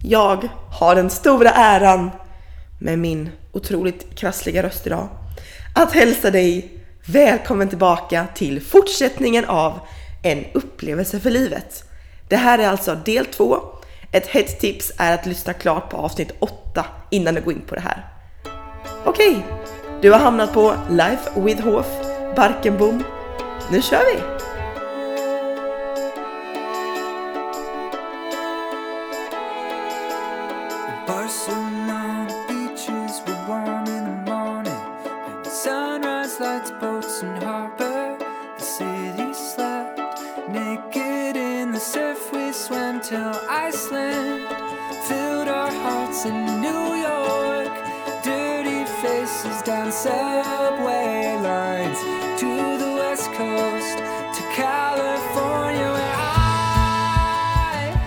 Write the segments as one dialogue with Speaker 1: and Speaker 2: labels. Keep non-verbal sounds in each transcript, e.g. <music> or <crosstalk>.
Speaker 1: Jag har den stora äran med min otroligt krassliga röst idag att hälsa dig välkommen tillbaka till fortsättningen av En upplevelse för livet. Det här är alltså del två. Ett hett tips är att lyssna klart på avsnitt 8 innan du går in på det här. Okej, du har hamnat på Life with Hof, Barkenbom. Nu kör vi!
Speaker 2: Barcelona beaches were warm in the morning, and the sunrise lights boats and harbor. The city slept naked in the surf. We swam till Iceland, filled our hearts in New York. Dirty faces down subway lines to the west coast to California, where I.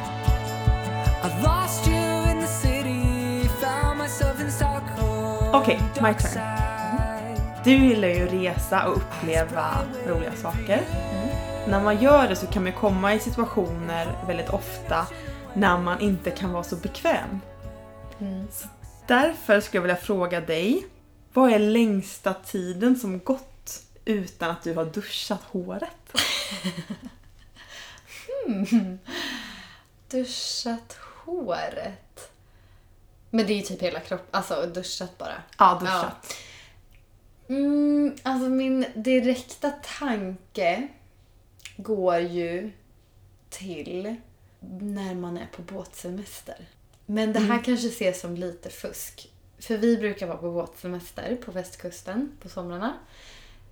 Speaker 2: I lost you in the city, found myself in Stockholm.
Speaker 3: Okej, my turn. Du gillar ju att resa och uppleva roliga saker.
Speaker 4: Mm.
Speaker 3: När man gör det så kan man ju komma i situationer väldigt ofta när man inte kan vara så bekväm.
Speaker 4: Mm.
Speaker 3: Så Därför skulle jag vilja fråga dig, vad är längsta tiden som gått utan att du har duschat håret?
Speaker 4: Duschat håret. Men det är ju typ hela kroppen, alltså duschat bara.
Speaker 3: Ja, duschat.
Speaker 4: Mm, alltså min direkta tanke går ju till när man är på båtsemester. Men det här kanske ses som lite fusk. För vi brukar vara på båtsemester på västkusten på somrarna.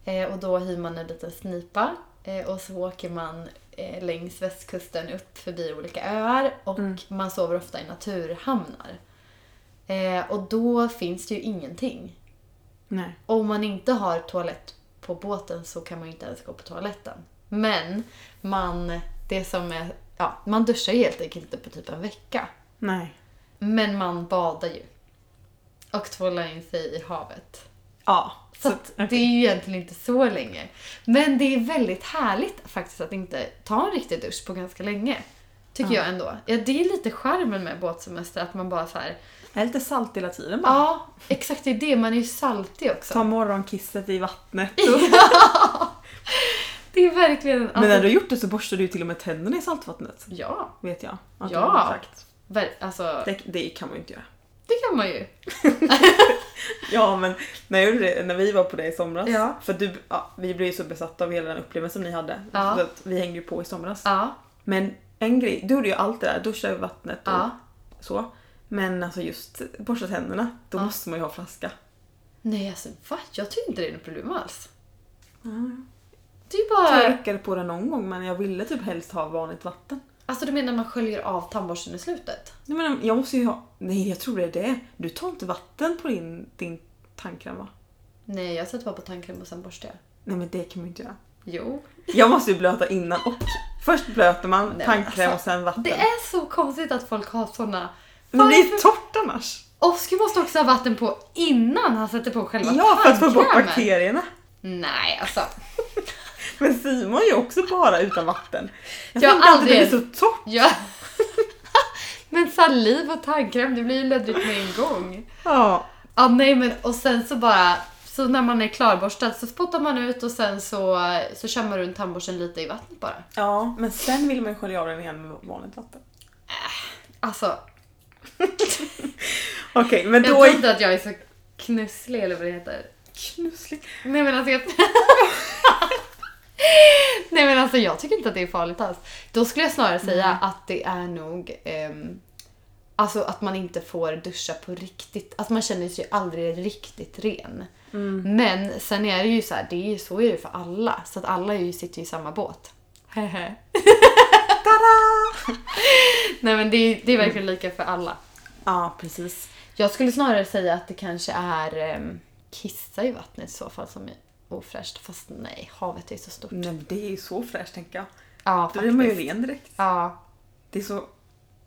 Speaker 4: Eh, och då hyr man en liten snipa eh, och så åker man eh, längs västkusten upp förbi olika öar och man sover ofta i naturhamnar. Eh, och då finns det ju ingenting.
Speaker 3: Nej.
Speaker 4: Om man inte har toalett på båten så kan man ju inte ens gå på toaletten. Men man, det som är, ja, man duschar ju helt enkelt inte på typ en vecka.
Speaker 3: Nej.
Speaker 4: Men man badar ju. Och tvålar in sig i havet.
Speaker 3: Ja.
Speaker 4: Så att det är ju egentligen inte så länge. Men det är väldigt härligt faktiskt att inte ta en riktig dusch på ganska länge. Tycker jag ändå. Ja, det är lite charmen med båtsemester, att man bara så här.
Speaker 3: Jag är lite salt hela tiden bara.
Speaker 4: Ja, exakt det är det. Man är ju saltig också.
Speaker 3: Ta morgonkisset i vattnet.
Speaker 4: <laughs> Det är verkligen...
Speaker 3: Men när du har gjort det så borstar du ju till och med tänderna i saltvattnet.
Speaker 4: Ja,
Speaker 3: Vet jag. att
Speaker 4: Ja.
Speaker 3: du har sagt.
Speaker 4: Ver- alltså,
Speaker 3: Det, det kan man ju inte göra.
Speaker 4: det kan man ju.
Speaker 3: Ja men när, jag gjorde det, när vi var på det i somras.
Speaker 4: Ja.
Speaker 3: För du, ja, vi blev ju så besatta av hela den upplevelsen ni hade.
Speaker 4: Ja.
Speaker 3: Så att vi hängde ju på i somras.
Speaker 4: Ja,
Speaker 3: Men en grej, du gjorde ju allt det där, duscha över vattnet och
Speaker 4: ja.
Speaker 3: så. Men alltså just borsta tänderna, då
Speaker 4: Ja.
Speaker 3: måste man ju ha flaska.
Speaker 4: Nej alltså va? Jag tycker inte det är något problem alls.
Speaker 3: Mm.
Speaker 4: Det är ju
Speaker 3: Jag
Speaker 4: bara...
Speaker 3: torkade på det någon gång men jag ville typ helst ha vanligt vatten.
Speaker 4: Alltså du menar man sköljer av tandborsten i slutet?
Speaker 3: Nej men jag måste ju ha... Nej jag tror det är det. Du tar inte vatten på din, din tandkräm va?
Speaker 4: Nej, jag sätter bara på tandkräm och sen borstar jag.
Speaker 3: Nej men det kan man ju inte göra.
Speaker 4: Jo.
Speaker 3: Jag måste ju blöta innan och först blöter man
Speaker 4: men
Speaker 3: tandkräm
Speaker 4: alltså,
Speaker 3: och sen vatten.
Speaker 4: Det är så konstigt att folk har såna...
Speaker 3: Men det är
Speaker 4: Varför-
Speaker 3: torrt annars.
Speaker 4: Oskar måste också ha vatten på innan han sätter på själva
Speaker 3: Ja, för att få bort
Speaker 4: tandkrämen.
Speaker 3: bakterierna.
Speaker 4: Nej alltså.
Speaker 3: Men Simon är ju också bara utan vatten. Jag,
Speaker 4: Jag
Speaker 3: tänkte
Speaker 4: har
Speaker 3: att det blir
Speaker 4: aldrig-
Speaker 3: så torrt.
Speaker 4: Ja. <laughs> Men saliv och tandkräm, det blir ju löddrigt med en gång.
Speaker 3: Ja.
Speaker 4: Ja, nej men och sen så bara, så när man är klarborstad så spottar man ut och sen så, så kör man runt tandborsten lite i vattnet bara.
Speaker 3: ja, men sen vill man ju skölja av den igen med vanligt vatten.
Speaker 4: Alltså,
Speaker 3: Okej, men
Speaker 4: jag
Speaker 3: då
Speaker 4: tror
Speaker 3: är
Speaker 4: inte att jag är så knusslig eller vad det heter.
Speaker 3: knusslig.
Speaker 4: Nej men alltså jag... Nej men alltså jag tycker inte att det är farligt alls. Då skulle jag snarare säga att det är nog ehm, Alltså att man inte får duscha på riktigt. Alltså man känner sig ju aldrig riktigt ren. Men sen är det ju så här, det är ju så är det för alla. Så att alla är ju, sitter ju i samma båt. <laughs> Hehe. Nej men det är, det är verkligen lika för alla.
Speaker 3: Ja, precis.
Speaker 4: Jag skulle snarare säga att det kanske är ehm, kissa i vattnet i så fall som är ofräscht. Fast nej, havet är så stort.
Speaker 3: Nej, men det är ju så fräscht tänker jag.
Speaker 4: Ja,
Speaker 3: Då är man ju
Speaker 4: faktiskt.
Speaker 3: ren direkt.
Speaker 4: Ja,
Speaker 3: Det är så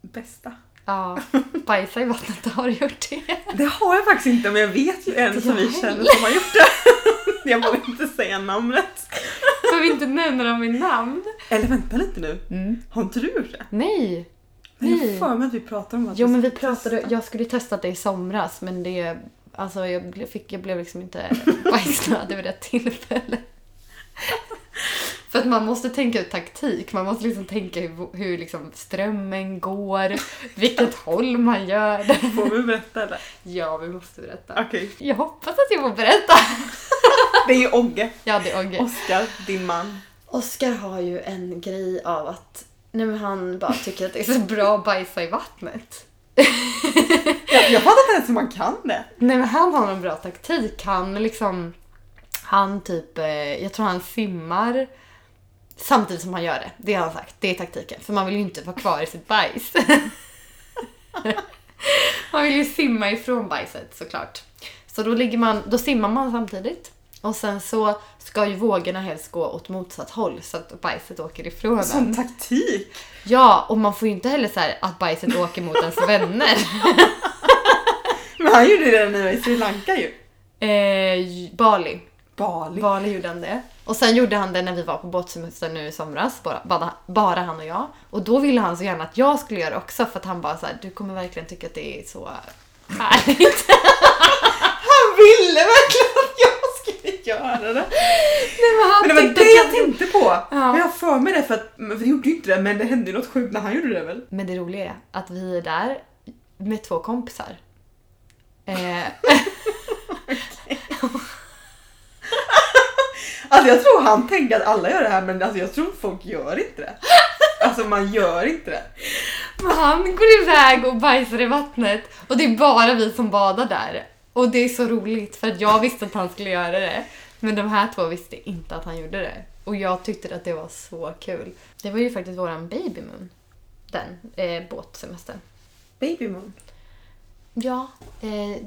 Speaker 3: bästa.
Speaker 4: ja. Bajsa i vattnet, har du gjort det?
Speaker 3: Det har jag faktiskt inte men jag vet ju en som vi
Speaker 4: Jag
Speaker 3: känner som har gjort det. <laughs> Jag vågar inte säga namnet.
Speaker 4: Behöver inte nämna dem i namn.
Speaker 3: Eller vänta lite nu. Har inte du gjort det?
Speaker 4: Nej!
Speaker 3: Men jag har
Speaker 4: Mm. Nej.
Speaker 3: för mig att vi pratade om att
Speaker 4: Jo men vi
Speaker 3: skulle
Speaker 4: pratade,
Speaker 3: testa.
Speaker 4: jag skulle ju testat det i somras men det, alltså jag, ble- fick, jag blev liksom inte bajsnödig vid det tillfället. För att man måste tänka ut taktik, man måste liksom tänka hur, hur liksom strömmen går, vilket håll man gör det.
Speaker 3: Får vi berätta eller?
Speaker 4: Ja, vi måste berätta.
Speaker 3: Okej.
Speaker 4: <laughs> Jag hoppas att jag får berätta.
Speaker 3: Det är ju Ogge.
Speaker 4: <laughs> Ja, det är Ogge.
Speaker 3: Oskar, din man.
Speaker 4: Oskar har ju en grej av att nej, men han bara tycker att det är så bra att bajsa i vattnet.
Speaker 3: Jag, jag fattar inte ens hur man kan det.
Speaker 4: Nej men han har en bra taktik. Han liksom... Han typ... eh, Jag tror han simmar samtidigt som han gör det. Det har han sagt. Det är taktiken. För man vill ju inte vara kvar i sitt bajs. <laughs> man vill ju simma ifrån bajset såklart. Så då, ligger man, då simmar man samtidigt. Och sen så ska ju vågorna helst gå åt motsatt håll så att bajset åker ifrån en.
Speaker 3: Sån taktik.
Speaker 4: Ja, och man får ju inte heller så här att bajset åker mot ens vänner. <laughs>
Speaker 3: Men han gjorde det när vi var i Sri Lanka ju.
Speaker 4: Eh, Bali.
Speaker 3: Bali.
Speaker 4: Valen gjorde han det. Och sen gjorde han det när vi var på båtsemester nu i somras, bara, bara, bara han och jag. Och då ville han så gärna att jag skulle göra det också för att han bara såhär, du kommer verkligen tycka att det är så härligt.
Speaker 3: Han ville verkligen att jag skulle göra det. Men det var det jag tänkte på. Men jag har för mig det för att, men för det gjorde ju inte det men det hände ju något sjukt när han gjorde det väl.
Speaker 4: Men det roliga är att vi är där med två kompisar. Eh,
Speaker 3: Alltså jag tror han tänkte att alla gör det här men alltså jag tror folk gör inte
Speaker 4: <laughs>
Speaker 3: det. Alltså man gör inte det.
Speaker 4: men han går iväg och bajsar i vattnet och det är bara vi som badar där. Och det är så roligt för att jag visste att han skulle göra det. Men de här två visste inte att han gjorde det. Och jag tyckte att det var så kul. Det var ju faktiskt våran babymoon. Den eh, båtsemestern.
Speaker 3: Baby moon.
Speaker 4: Ja, eh,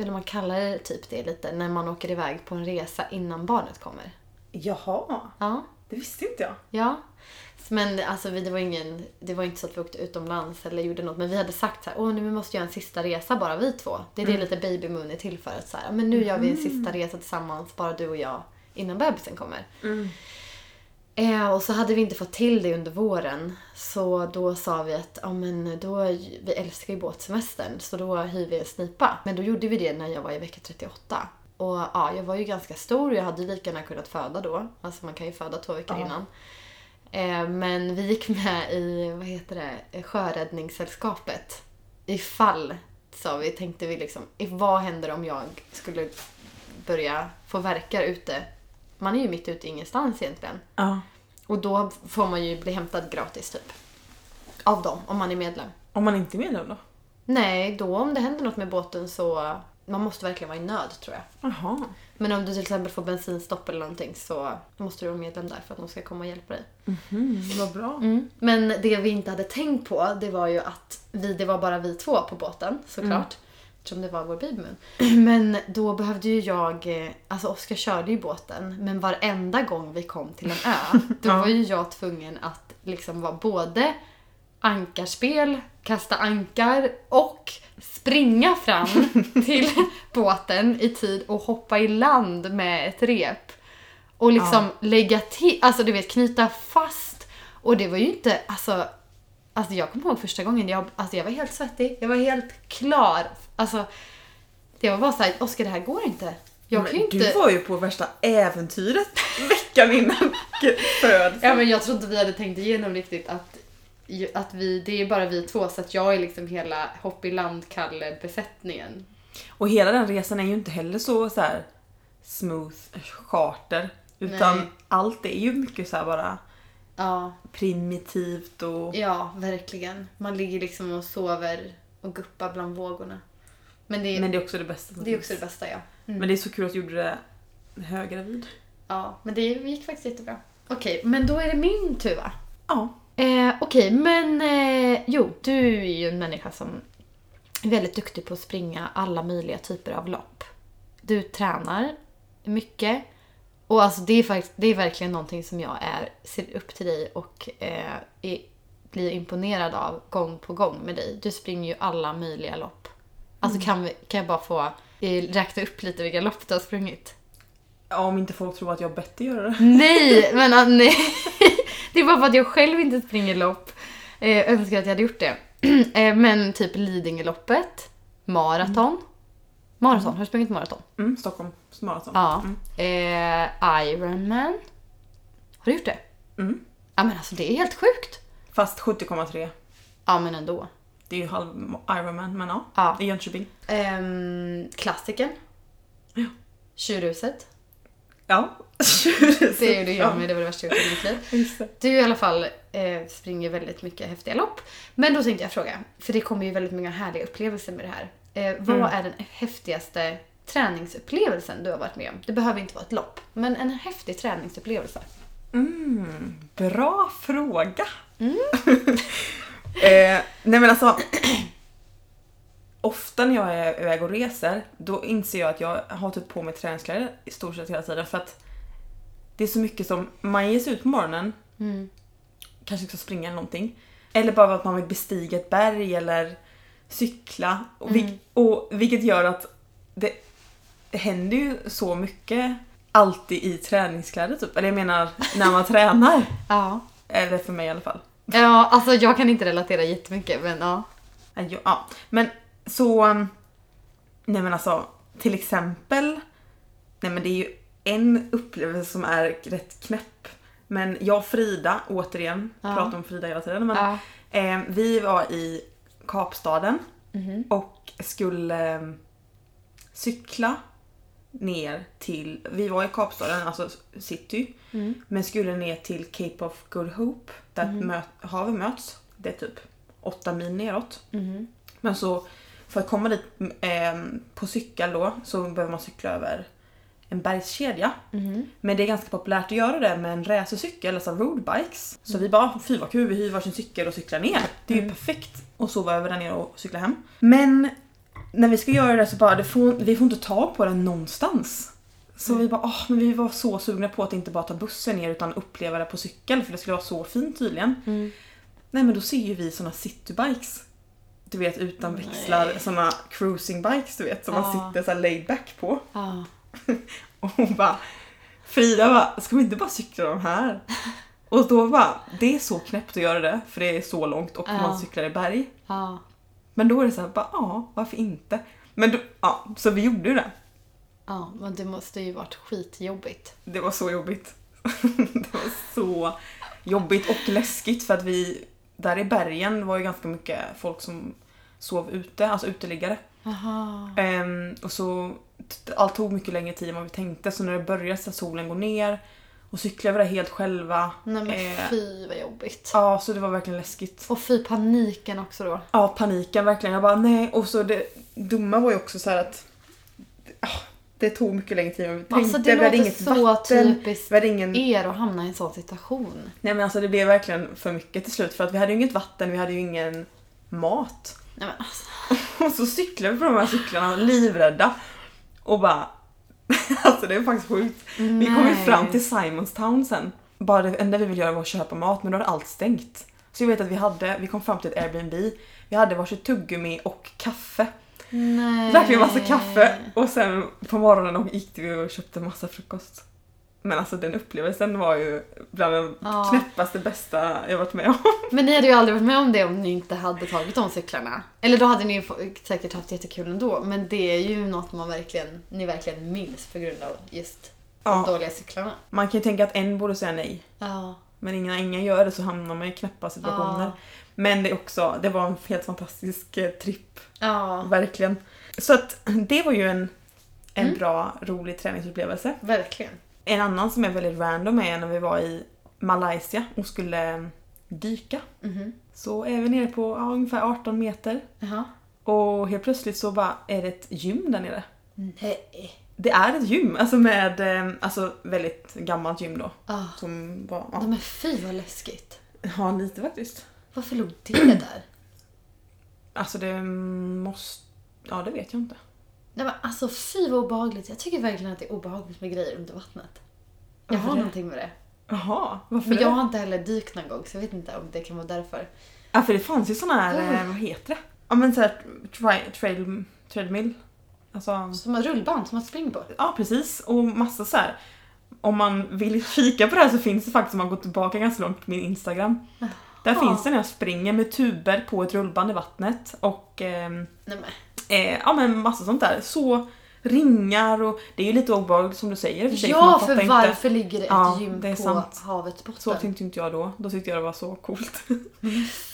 Speaker 4: eller man kallar det typ det lite när man åker iväg på en resa innan barnet kommer.
Speaker 3: Jaha,
Speaker 4: Ja.
Speaker 3: det visste inte jag.
Speaker 4: Ja. Men alltså, vi, det, var ingen, det var inte så att vi åkte utomlands eller gjorde något. Men vi hade sagt så här, åh nu måste vi göra en sista resa bara vi två. Det är det lite baby moon är till för. Att så här, men nu gör vi en sista resa tillsammans, bara du och jag, innan bebisen kommer. Eh, och så hade vi inte fått till det under våren. Så då sa vi att ja, men då, vi älskar ju båtsemestern så då hyr vi en snipa. Men då gjorde vi det när jag var i vecka 38. Och ja, jag var ju ganska stor och jag hade ju lika gärna kunnat föda då. Alltså man kan ju föda två veckor innan. Eh, men vi gick med i, vad heter det, Sjöräddningssällskapet. Ifall, sa vi, tänkte vi liksom, if- vad händer om jag skulle börja få verkar ute? Man är ju mitt ute i ingenstans egentligen.
Speaker 3: Ja.
Speaker 4: Och då får man ju bli hämtad gratis typ. Av dem, om man är medlem.
Speaker 3: Om man inte är medlem då?
Speaker 4: Nej, då om det händer något med båten så... Man måste verkligen vara i nöd tror jag.
Speaker 3: Jaha.
Speaker 4: Men om du till exempel får bensinstopp eller någonting så måste du vara medlem där för att de ska komma och hjälpa dig.
Speaker 3: Vad bra.
Speaker 4: Men det vi inte hade tänkt på det var ju att vi, det var bara vi två på båten såklart. Eftersom det var vår babymoon. <clears throat> Men då behövde ju jag, eh, alltså Oskar körde ju båten men varenda gång vi kom till en ö då var ju jag tvungen att liksom vara både ankarspel, kasta ankar och springa fram till båten i tid och hoppa i land med ett rep. Och liksom lägga till, alltså du vet knyta fast. Och det var ju inte, alltså, alltså jag kommer ihåg första gången, jag, alltså jag var helt svettig, jag var helt klar. Alltså, det var bara såhär, Oskar det här går inte. Jag kan ju
Speaker 3: Men
Speaker 4: inte...
Speaker 3: Du var ju på värsta äventyret <laughs> veckan innan födseln.
Speaker 4: Ja men jag tror inte vi hade tänkt igenom riktigt att, ju- att vi, det är bara vi två så att jag är liksom hela hopp i land-Kalle-besättningen.
Speaker 3: Och hela den resan är ju inte heller så, så här smooth charter. Utan
Speaker 4: Nej.
Speaker 3: allt är ju mycket så här bara
Speaker 4: Ja,
Speaker 3: primitivt och...
Speaker 4: ja verkligen. Man ligger liksom och sover och guppar bland vågorna. Men det,
Speaker 3: Men det är också det bästa som
Speaker 4: det är
Speaker 3: finns.
Speaker 4: också mm. det bästa ja.
Speaker 3: Men det är så kul att du gjorde det höggravid.
Speaker 4: Ja, men det gick faktiskt jättebra. Okej, men då är det min tur va?
Speaker 3: Ja.
Speaker 4: Eh, Okej, men eh, jo, du är ju en människa som är väldigt duktig på att springa alla möjliga typer av lopp. Du tränar mycket. Och alltså det är, fakt- det är verkligen någonting som jag är, ser upp till dig och eh, är, blir imponerad av gång på gång med dig. Du springer ju alla möjliga lopp. Alltså kan, vi, kan jag bara få eh, räkna upp lite vilka lopp du har sprungit?
Speaker 3: Ja, om inte folk tror att jag har bett dig göra det.
Speaker 4: Nej, men ah, nej. Det är bara för att jag själv inte springer lopp. Eh, Eh, jag önskar att jag hade gjort det. <clears throat> eh, men typ Lidingöloppet, maraton. Maraton, har du sprungit maraton?
Speaker 3: Mm, Stockholm maraton.
Speaker 4: Ja.
Speaker 3: Mm.
Speaker 4: Eh, Ironman. Har du gjort det?
Speaker 3: Mm.
Speaker 4: Ja men alltså det är helt sjukt.
Speaker 3: Fast 70,3.
Speaker 4: Ja men ändå.
Speaker 3: Det är ju halv Ironman, men ja.
Speaker 4: Ja.
Speaker 3: I Jönköping.
Speaker 4: Ehm, klassiken.
Speaker 3: Ja.
Speaker 4: Tjurhuset.
Speaker 3: <laughs> Ja.
Speaker 4: Det gjorde jag med, det var det värsta jag gjort i mitt liv.
Speaker 3: Just det.
Speaker 4: Du i alla fall eh, springer väldigt mycket häftiga lopp. Men då tänkte jag fråga, för det kommer ju väldigt många härliga upplevelser med det här. Eh, vad är den häftigaste träningsupplevelsen du har varit med om? Det behöver inte vara ett lopp, men en häftig träningsupplevelse.
Speaker 3: Mm, bra fråga.
Speaker 4: Mm.
Speaker 3: <laughs> eh, nej men alltså. <clears throat> Ofta när jag är iväg och reser då inser jag att jag har typ på mig träningskläder i stort sett hela tiden för att det är så mycket som man ger sig ut på morgonen,
Speaker 4: Mm.
Speaker 3: kanske också springa eller någonting. Eller bara att man vill bestiga ett berg eller cykla. Och,
Speaker 4: Mm.
Speaker 3: vil- och vilket gör att det, det händer ju så mycket alltid i träningskläder typ. Eller jag menar när man <laughs> tränar.
Speaker 4: Ja.
Speaker 3: Eller för mig i alla fall.
Speaker 4: ja, alltså jag kan inte relatera jättemycket men ja.
Speaker 3: Nej, jo, Ja, men så... um, Nej men alltså, till exempel... Nej men det är ju en upplevelse som är rätt knäpp. Men jag och Frida, återigen,
Speaker 4: Ja.
Speaker 3: pratar om Frida hela tiden. Men,
Speaker 4: Ja.
Speaker 3: eh, vi var i Kapstaden
Speaker 4: Mhm.
Speaker 3: och skulle eh, cykla ner till... Vi var i Kapstaden, alltså city.
Speaker 4: Mm.
Speaker 3: Men skulle ner till Cape of Good Hope där
Speaker 4: Mhm.
Speaker 3: möt, havet möts. Det är typ 8 mil neråt. Men så för att komma dit ehm, på cykel då så behöver man cykla över en bergskedja. Men det är ganska populärt att göra det med en racercykel, alltså roadbikes. Så vi bara, fy vad kul, vi hyr varsin cykel och cyklar ner. Det är ju perfekt att sova över där nere och cykla hem. Men när vi ska göra det så bara, det får, vi får inte tag på den någonstans. Så vi bara, åh, men vi var så sugna på att inte bara ta bussen ner utan uppleva det på cykel för det skulle vara så fint tydligen. Nej men då ser ju vi såna citybikes. Du vet utan växlar, såna cruisingbikes du vet som man
Speaker 4: Ja.
Speaker 3: sitter så här laid back på.
Speaker 4: Ja.
Speaker 3: Och hon bara Frida bara, ska vi inte bara cykla de här? Och då bara, det är så knäppt att göra det för det är så långt och
Speaker 4: Ja.
Speaker 3: man cyklar i berg.
Speaker 4: ja.
Speaker 3: Men då är det så här, bara, ja varför inte? Men då, ja, så vi gjorde ju det.
Speaker 4: Ja, men det måste ju varit skitjobbigt.
Speaker 3: Det var så jobbigt. <laughs> det var så jobbigt och läskigt för att vi där i bergen var ju ganska mycket folk som sov ute, alltså uteliggare.
Speaker 4: Aha.
Speaker 3: Ehm, och så t- allt tog mycket längre tid än vad vi tänkte så när det började så att solen går ner och cyklar vi där helt själva.
Speaker 4: Nej men
Speaker 3: Eh,
Speaker 4: fy vad jobbigt.
Speaker 3: Ja, så det var verkligen läskigt.
Speaker 4: Och fy paniken också då.
Speaker 3: Ja, paniken verkligen. Jag bara nej. Och så det dumma var ju också så här att ah, det tog mycket längre tid än vad vi tänkte.
Speaker 4: Alltså det
Speaker 3: vi hade
Speaker 4: låter
Speaker 3: inget
Speaker 4: så
Speaker 3: vatten.
Speaker 4: typiskt
Speaker 3: Vi hade ingen
Speaker 4: er att hamna i en sån situation.
Speaker 3: Nej men alltså det blev verkligen för mycket till slut för att vi hade ju inget vatten, vi hade ju ingen mat. <laughs>
Speaker 4: Nej men alltså.
Speaker 3: Och så cyklade vi på de här cyklarna livrädda och bara... <laughs> alltså det är faktiskt sjukt. Vi kom ju
Speaker 4: Nej.
Speaker 3: fram till Simonstown sen. Bara det enda vi ville göra var att köpa mat men då hade allt stängt. Så jag vet att vi hade, vi kom fram till ett Airbnb, vi hade varsitt tuggummi och kaffe.
Speaker 4: Nej.
Speaker 3: Verkligen massa kaffe och sen på morgonen gick vi och köpte massa frukost. Men alltså den upplevelsen var ju bland de
Speaker 4: Ja.
Speaker 3: knäppaste bästa jag varit med om. <laughs>
Speaker 4: Men ni hade ju aldrig varit med om det om ni inte hade tagit de cyklarna. Eller då hade ni ju få- säkert haft jättekul ändå. Men det är ju något man verkligen, ni verkligen minns på grund av just de
Speaker 3: Ja,
Speaker 4: dåliga cyklarna.
Speaker 3: man kan ju tänka att en borde säga nej.
Speaker 4: Ja.
Speaker 3: Men innan ingen gör det så hamnar man i knäppa situationer.
Speaker 4: Ja.
Speaker 3: Men det är också, det var en helt fantastisk eh, tripp.
Speaker 4: Ja.
Speaker 3: Verkligen. Så att det var ju en, en
Speaker 4: Mm.
Speaker 3: bra, rolig träningsupplevelse.
Speaker 4: Verkligen.
Speaker 3: En annan som är väldigt random är när vi var i Malaysia och skulle eh, dyka.
Speaker 4: Mhm.
Speaker 3: Så är vi nere på ja, ungefär 18 meter.
Speaker 4: Jaha.
Speaker 3: Och helt plötsligt så bara är det ett gym där nere.
Speaker 4: Nej.
Speaker 3: Det är ett gym, alltså med eh, alltså väldigt gammalt gym då.
Speaker 4: Ah.
Speaker 3: Som var,
Speaker 4: Nej
Speaker 3: ja,
Speaker 4: men fy vad läskigt.
Speaker 3: ja lite faktiskt.
Speaker 4: Varför låg det där?
Speaker 3: Alltså det måste... Ja, det vet jag inte.
Speaker 4: Nej men alltså fy vad obehagligt. Jag tycker verkligen att det är obehagligt med grejer under vattnet. Jag
Speaker 3: Varför
Speaker 4: har
Speaker 3: det?
Speaker 4: någonting med det.
Speaker 3: Jaha, varför
Speaker 4: Men jag
Speaker 3: det?
Speaker 4: har inte heller dykt någon gång så jag vet inte om det kan vara därför.
Speaker 3: Ja, för det fanns ju såna här,
Speaker 4: Mm.
Speaker 3: eh, vad heter det? Ja men såhär tri- trail, treadmill. Alltså,
Speaker 4: Som en rullband som man springer på.
Speaker 3: ja precis. Och massa så här. <laughs> Om man vill kika på det här så finns det faktiskt, om man går tillbaka ganska långt på min Instagram. Där
Speaker 4: Ja.
Speaker 3: finns det när jag springer med tuber på ett rullband i vattnet och ehm,
Speaker 4: Nej, men.
Speaker 3: eh, ja, men massa sånt där. Så ringar och det är ju lite obehagligt som du säger i och för sig, för
Speaker 4: Ja,
Speaker 3: man
Speaker 4: för
Speaker 3: fattar
Speaker 4: varför ligger det ett
Speaker 3: Ja,
Speaker 4: gym
Speaker 3: det är
Speaker 4: på
Speaker 3: sant.
Speaker 4: havets
Speaker 3: Så
Speaker 4: botten?
Speaker 3: tyckte inte jag då. Då tyckte jag det var så coolt.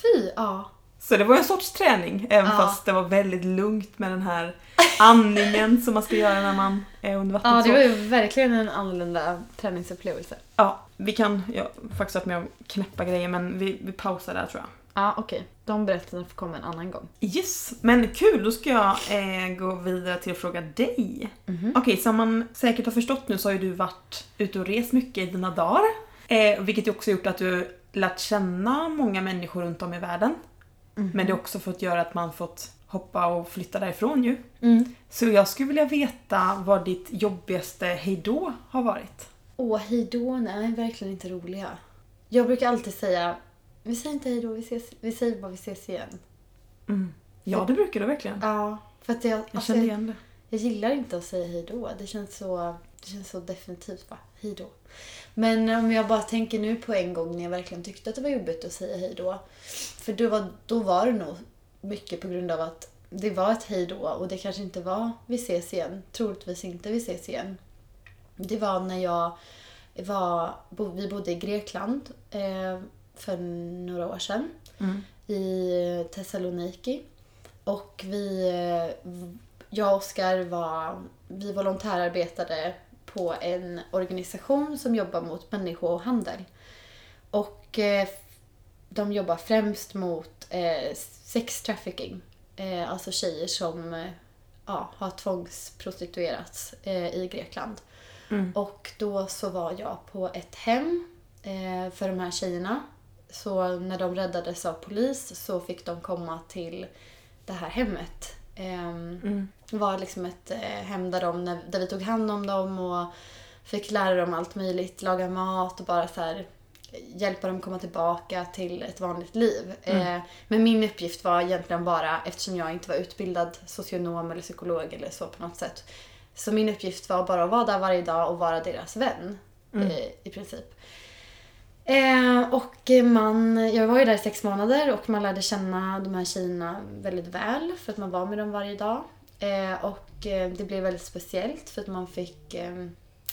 Speaker 4: Fy, ja.
Speaker 3: Så det var en sorts träning, även
Speaker 4: Ja.
Speaker 3: fast det var väldigt lugnt med den här andningen som man ska göra när man är under vattnet.
Speaker 4: Ja, det
Speaker 3: så.
Speaker 4: var ju verkligen en annorlunda träningsupplevelse.
Speaker 3: ja, vi kan, jag har faktiskt varit med om knäppa grejer men vi, vi pausar där tror jag.
Speaker 4: Ja, okej. De berättelserna får komma en annan gång.
Speaker 3: Yes, men kul! Då ska jag eh, gå vidare till att fråga dig.
Speaker 4: Mhm.
Speaker 3: Okej, som man säkert har förstått nu så har ju du varit ute och rest mycket i dina dagar. Eh, vilket ju också gjort att du lärt känna många människor runt om i världen.
Speaker 4: Mhm.
Speaker 3: Men det har också fått göra att man fått hoppa och flytta därifrån ju.
Speaker 4: Mm.
Speaker 3: Så jag skulle vilja veta vad ditt jobbigaste hejdå har varit.
Speaker 4: Åh, hejdån är verkligen inte roliga. Jag brukar alltid säga, vi säger inte hejdå, vi, ses, vi säger bara vi ses igen.
Speaker 3: Ja, det brukar du verkligen.
Speaker 4: Ja, för att jag,
Speaker 3: Jag
Speaker 4: alltså,
Speaker 3: kände
Speaker 4: jag,
Speaker 3: igen det.
Speaker 4: jag gillar inte att säga hejdå. Det känns så, det känns så definitivt bara, hejdå. Men om jag bara tänker nu på en gång när jag verkligen tyckte att det var jobbigt att säga hejdå. För då var, då var det nog mycket på grund av att det var ett hejdå och det kanske inte var vi ses igen. Troligtvis inte vi ses igen. Det var när jag var, bo, vi bodde i Grekland eh, för några år sedan. I Thessaloniki. Och vi, eh, v- jag och Oskar var, vi volontärarbetade på en organisation som jobbar mot människohandel. Och eh, de jobbar främst mot eh, sex trafficking. Eh, alltså tjejer som eh, ja, har tvångsprostituerats eh, i Grekland.
Speaker 3: Mm.
Speaker 4: Och då så var jag på ett hem eh, för de här tjejerna. Så när de räddades av polis så fick de komma till det här hemmet. Ehm,
Speaker 3: Mm.
Speaker 4: Det var liksom ett eh, hem där, de, där vi tog hand om dem och fick lära dem allt möjligt. Laga mat och bara så här hjälpa dem komma tillbaka till ett vanligt liv. Eh, men min uppgift var egentligen bara, eftersom jag inte var utbildad socionom eller psykolog eller så på något sätt. Så min uppgift var bara att vara där varje dag och vara deras vän. Eh, I princip. Eh, och man, jag var ju där i sex månader och man lärde känna de här tjejerna väldigt väl för att man var med dem varje dag. Eh, och eh, det blev väldigt speciellt för att man fick eh,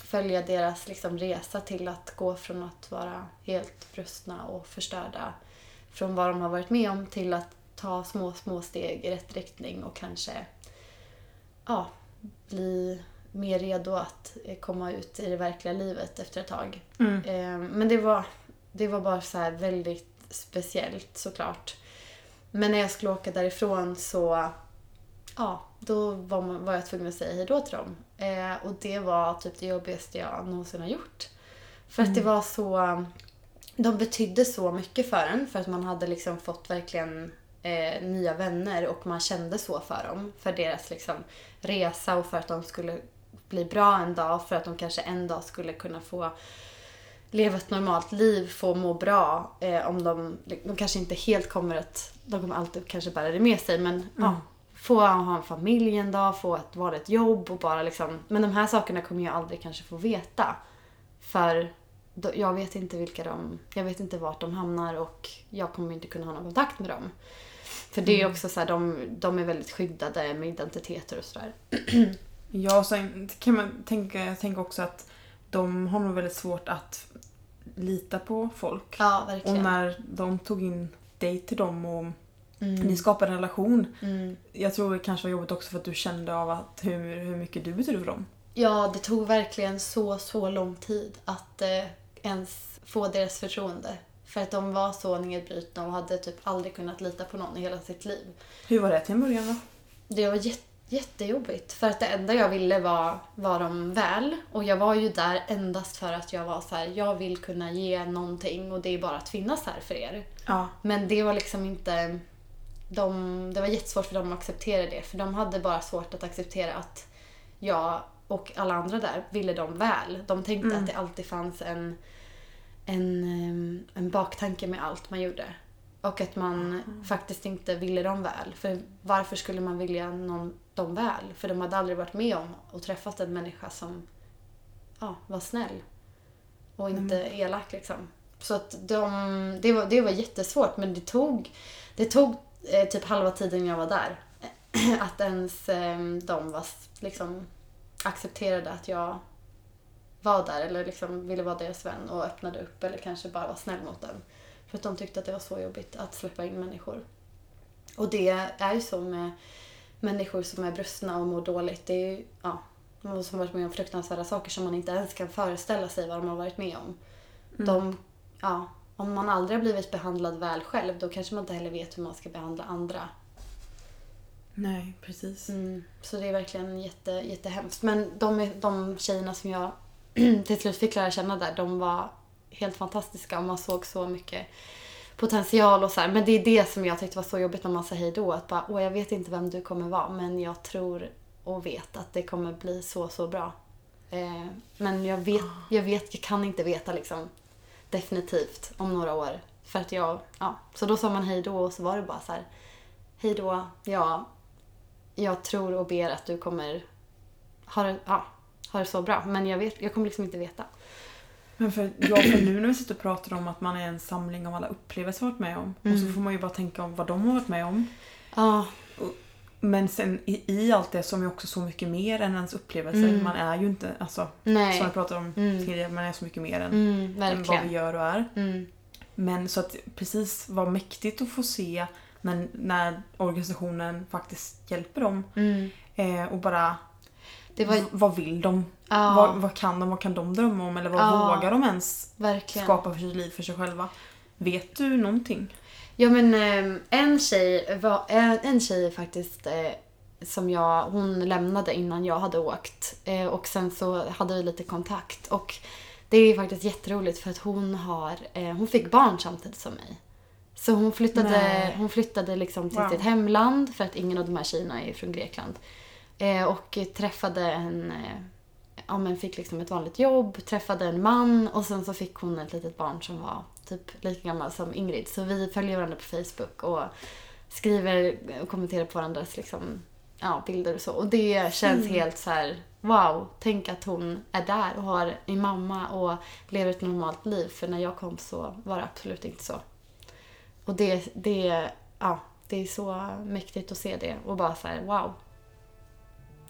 Speaker 4: följa deras liksom, resa till att gå från att vara helt brustna och förstörda från vad de har varit med om till att ta små, små steg i rätt riktning och kanske ja, bli mer redo att eh, komma ut i det verkliga livet efter ett tag.
Speaker 3: Mm.
Speaker 4: Eh, Men det var, det var bara så här väldigt speciellt såklart. Men när jag skulle åka därifrån så ja, då var, man, var jag tvungen att säga hejdå till dem. Eh, och det var typ det jobbigaste jag någonsin har gjort. För att det var så... De betydde så mycket för en för att man hade liksom fått verkligen eh, nya vänner och man kände så för dem. För deras liksom, resa och för att de skulle bli bra en dag. För att de kanske en dag skulle kunna få leva ett normalt liv, få må bra. Eh, om de, de kanske inte helt kommer att, de kommer alltid kanske bära det med sig men ja. Få ha en familj en dag, få ett vanligt jobb och bara liksom. Men de här sakerna kommer jag aldrig kanske få veta. För då, jag vet inte vilka de, jag vet inte vart de hamnar och jag kommer inte kunna ha någon kontakt med dem. För det är också så här, de, de är väldigt skyddade med identiteter och sådär.
Speaker 3: Ja, och sen kan man tänka, jag tänker också att de har nog väldigt svårt att lita på folk.
Speaker 4: Ja,
Speaker 3: och
Speaker 4: verkligen.
Speaker 3: när de tog in dig till dem och
Speaker 4: Mm.
Speaker 3: ni skapade en relation. Jag tror det kanske var jobbigt också för att du kände av att hur, hur mycket du betyder för dem.
Speaker 4: Ja, det tog verkligen så, så lång tid att eh, ens få deras förtroende. För att de var så nedbrutna och hade typ aldrig kunnat lita på någon i hela sitt liv.
Speaker 3: Hur var det till en början då?
Speaker 4: Det var jät- jättejobbigt. För att det enda jag ville var, var dem väl. Och jag var ju där endast för att jag var så här, jag vill kunna ge någonting och det är bara att finnas här för er.
Speaker 3: Ja.
Speaker 4: Men det var liksom inte... De, det var jättesvårt för dem att acceptera det. För de hade bara svårt att acceptera att jag och alla andra där ville dem väl. De tänkte att det alltid fanns en, en, ehm, en baktanke med allt man gjorde. Och att man faktiskt inte ville dem väl. För varför skulle man vilja någon, dem väl? För de hade aldrig varit med om och träffat en människa som ja, var snäll. Och inte elak liksom. Så att de, det, var, det var jättesvårt men det tog, det tog eh, typ halva tiden jag var där. <clears throat> Att ens eh, de var s- liksom accepterade att jag var där eller liksom ville vara deras vän och öppnade upp eller kanske bara var snäll mot dem. För att de tyckte att det var så jobbigt att släppa in människor. Och det är ju så med människor som är brustna och mår dåligt. Det är ju, ja, de som har varit med om fruktansvärda saker som man inte ens kan föreställa sig vad de har varit med om.
Speaker 3: Mm.
Speaker 4: De, ja, om man aldrig har blivit behandlad väl själv då kanske man inte heller vet hur man ska behandla andra.
Speaker 3: Nej, precis.
Speaker 4: Mm, så det är verkligen jätte, jättehemskt. Men de, de tjejerna som jag <clears throat> till slut fick lära känna där, de var helt fantastiska och man såg så mycket potential och så här. Men det är det som jag tyckte var så jobbigt när man sa hej då. Att bara, åh jag vet inte vem du kommer vara men jag tror och vet att det kommer bli så, så bra. Eh, men jag vet, jag vet, jag kan inte veta liksom definitivt om några år. För att jag, ja. Så då sa man hej då och så var det bara så här, hej då, ja, jag tror och ber att du kommer ha det, ja, ha det så bra. Men jag, vet, jag kommer liksom inte veta.
Speaker 3: Men för, ja, för nu när vi sitter och pratar om att man är en samling av alla upplevelser man varit med om. Och
Speaker 4: Mm.
Speaker 3: så får man ju bara tänka om vad de har varit med om.
Speaker 4: Ja,
Speaker 3: Men sen i, i allt det som är också så mycket mer än ens upplevelser. Man är ju inte, alltså,
Speaker 4: Mm. Nej.
Speaker 3: som vi pratade om tidigare, man är så mycket mer än,
Speaker 4: mm,
Speaker 3: än vad vi
Speaker 4: verkligen.
Speaker 3: gör och är.
Speaker 4: Mm,
Speaker 3: Men så att precis vad mäktigt att få se när, när organisationen faktiskt hjälper dem.
Speaker 4: mm.
Speaker 3: Eh, och bara,
Speaker 4: Det var
Speaker 3: v- vad vill de?
Speaker 4: Ja.
Speaker 3: Vad, vad kan de? Vad kan de drömma om? Eller vad
Speaker 4: Ja.
Speaker 3: vågar de ens
Speaker 4: verkligen...
Speaker 3: skapa för sitt liv för sig själva? Vet du någonting?
Speaker 4: Ja men ehm, en tjej, var, en, en tjej faktiskt eh, som jag, hon lämnade innan jag hade åkt eh, och sen så hade vi lite kontakt och det är faktiskt jätteroligt för att hon har, eh, hon fick barn samtidigt som mig. Så hon flyttade,
Speaker 3: Nej.
Speaker 4: hon flyttade liksom till
Speaker 3: Wow.
Speaker 4: sitt hemland för att ingen av de här tjejerna är från Grekland. Eh, och träffade en, eh, ja men fick liksom ett vanligt jobb, träffade en man och sen så fick hon ett litet barn som var typ lika gammal som Ingrid. Så vi följer varandra på Facebook och skriver och kommenterar på varandras liksom, ja, bilder och så. Och det känns helt så här: wow, tänk att hon är där och har en mamma och lever ett normalt liv. För när jag kom så var det absolut inte så. Och det, det, ja, det är så mäktigt att se det och bara så här: wow.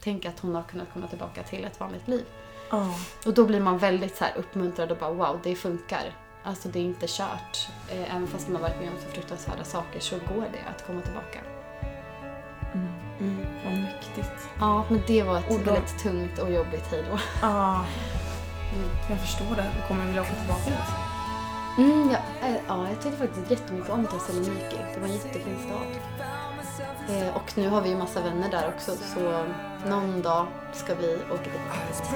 Speaker 4: Tänk att hon har kunnat komma tillbaka till ett vanligt liv.
Speaker 3: Ja.
Speaker 4: Och då blir man väldigt så här uppmuntrad och bara wow, det funkar. Alltså det är inte kört. Eh, Även fast man har varit med om så fruktansvärda saker så går det att komma tillbaka. Mm.
Speaker 3: Vad mäktigt.
Speaker 4: Ja, men det var ett
Speaker 3: Och då-
Speaker 4: väldigt tungt och jobbigt hejdå.
Speaker 3: Ja. Jag förstår det. Jag kommer vilja åka tillbaka dit.
Speaker 4: Mm, ja, eh, ja, jag tyckte faktiskt jättemycket om Thessaloniki. Det var en jättefin stad.
Speaker 3: Mm-hmm.
Speaker 4: Eh, Och nu har vi ju massa vänner där också så någon dag ska vi åka dit.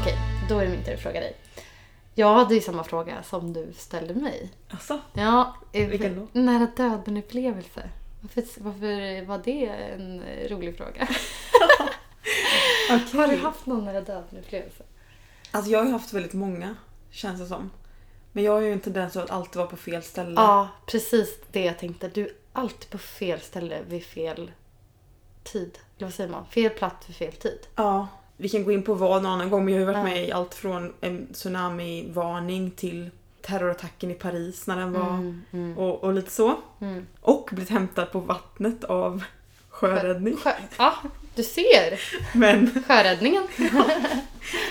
Speaker 4: Okej, då är det min tur att fråga dig. Jag hade ju samma fråga som du ställde mig.
Speaker 3: Alltså,
Speaker 4: Ja, eh,
Speaker 3: Vilken då?
Speaker 4: Nära döden-upplevelse. Varför, varför var det en eh,
Speaker 3: <laughs>
Speaker 4: rolig fråga?
Speaker 3: okay.
Speaker 4: Har du haft någon nära döden-upplevelse?
Speaker 3: Alltså jag har ju haft väldigt många, känns det som. Men jag har ju en tendens att alltid vara på fel ställe.
Speaker 4: Ja, precis det jag tänkte. Du är alltid på fel ställe vid fel tid. Eller vad säger man? Fel plats vid fel tid.
Speaker 3: Ja. Vi kan gå in på vad någon annan gång men jag har ju varit med i allt från en tsunamivarning till terrorattacken i Paris när den var
Speaker 4: Mm,
Speaker 3: Och, och lite så. Och blivit hämtad på vattnet av sjöräddning.
Speaker 4: Sjö, ja, du ser!
Speaker 3: Men, <laughs>
Speaker 4: Sjöräddningen.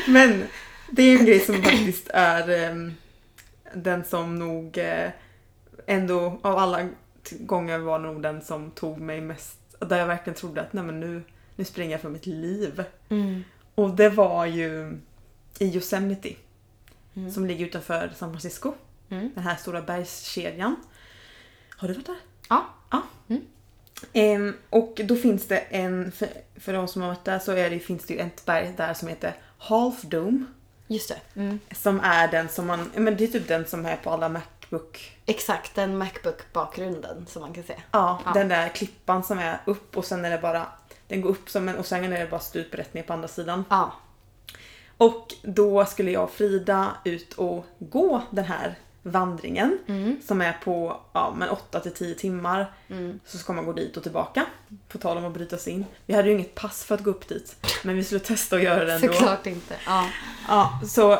Speaker 3: men det är ju en grej som faktiskt är ehm, den som nog eh, ändå av alla t- gånger var nog den som tog mig mest. Där jag verkligen trodde att nej men nu, nu springer jag för mitt liv.
Speaker 4: Mm,
Speaker 3: Och det var ju i Yosemite. Som ligger utanför San Francisco. Den här stora bergskedjan. Har du varit där?
Speaker 4: Ja.
Speaker 3: Ja. Ehm, och då finns det en, för, för de som har varit där så är det, finns det ju ett berg där som heter Half Dome.
Speaker 4: Just det. Mm.
Speaker 3: Som är den som man, men det är typ den som är på alla Mac, Macbook.
Speaker 4: Exakt, den Macbook-bakgrunden som man kan se.
Speaker 3: Ja,
Speaker 4: Ja.
Speaker 3: den där klippan som är upp och sen är det bara... Den går upp som en och sen är det bara stup rätt ner på andra sidan.
Speaker 4: Ja.
Speaker 3: Och då skulle jag och Frida ut och gå den här vandringen
Speaker 4: Mm.
Speaker 3: som är på ja, men 8 till 10 timmar. Så ska man gå dit och tillbaka. På tal om att bryta sig in. Vi hade ju inget pass för att gå upp dit. Men vi skulle testa att göra det ändå.
Speaker 4: Såklart inte. Ja.
Speaker 3: Ja, så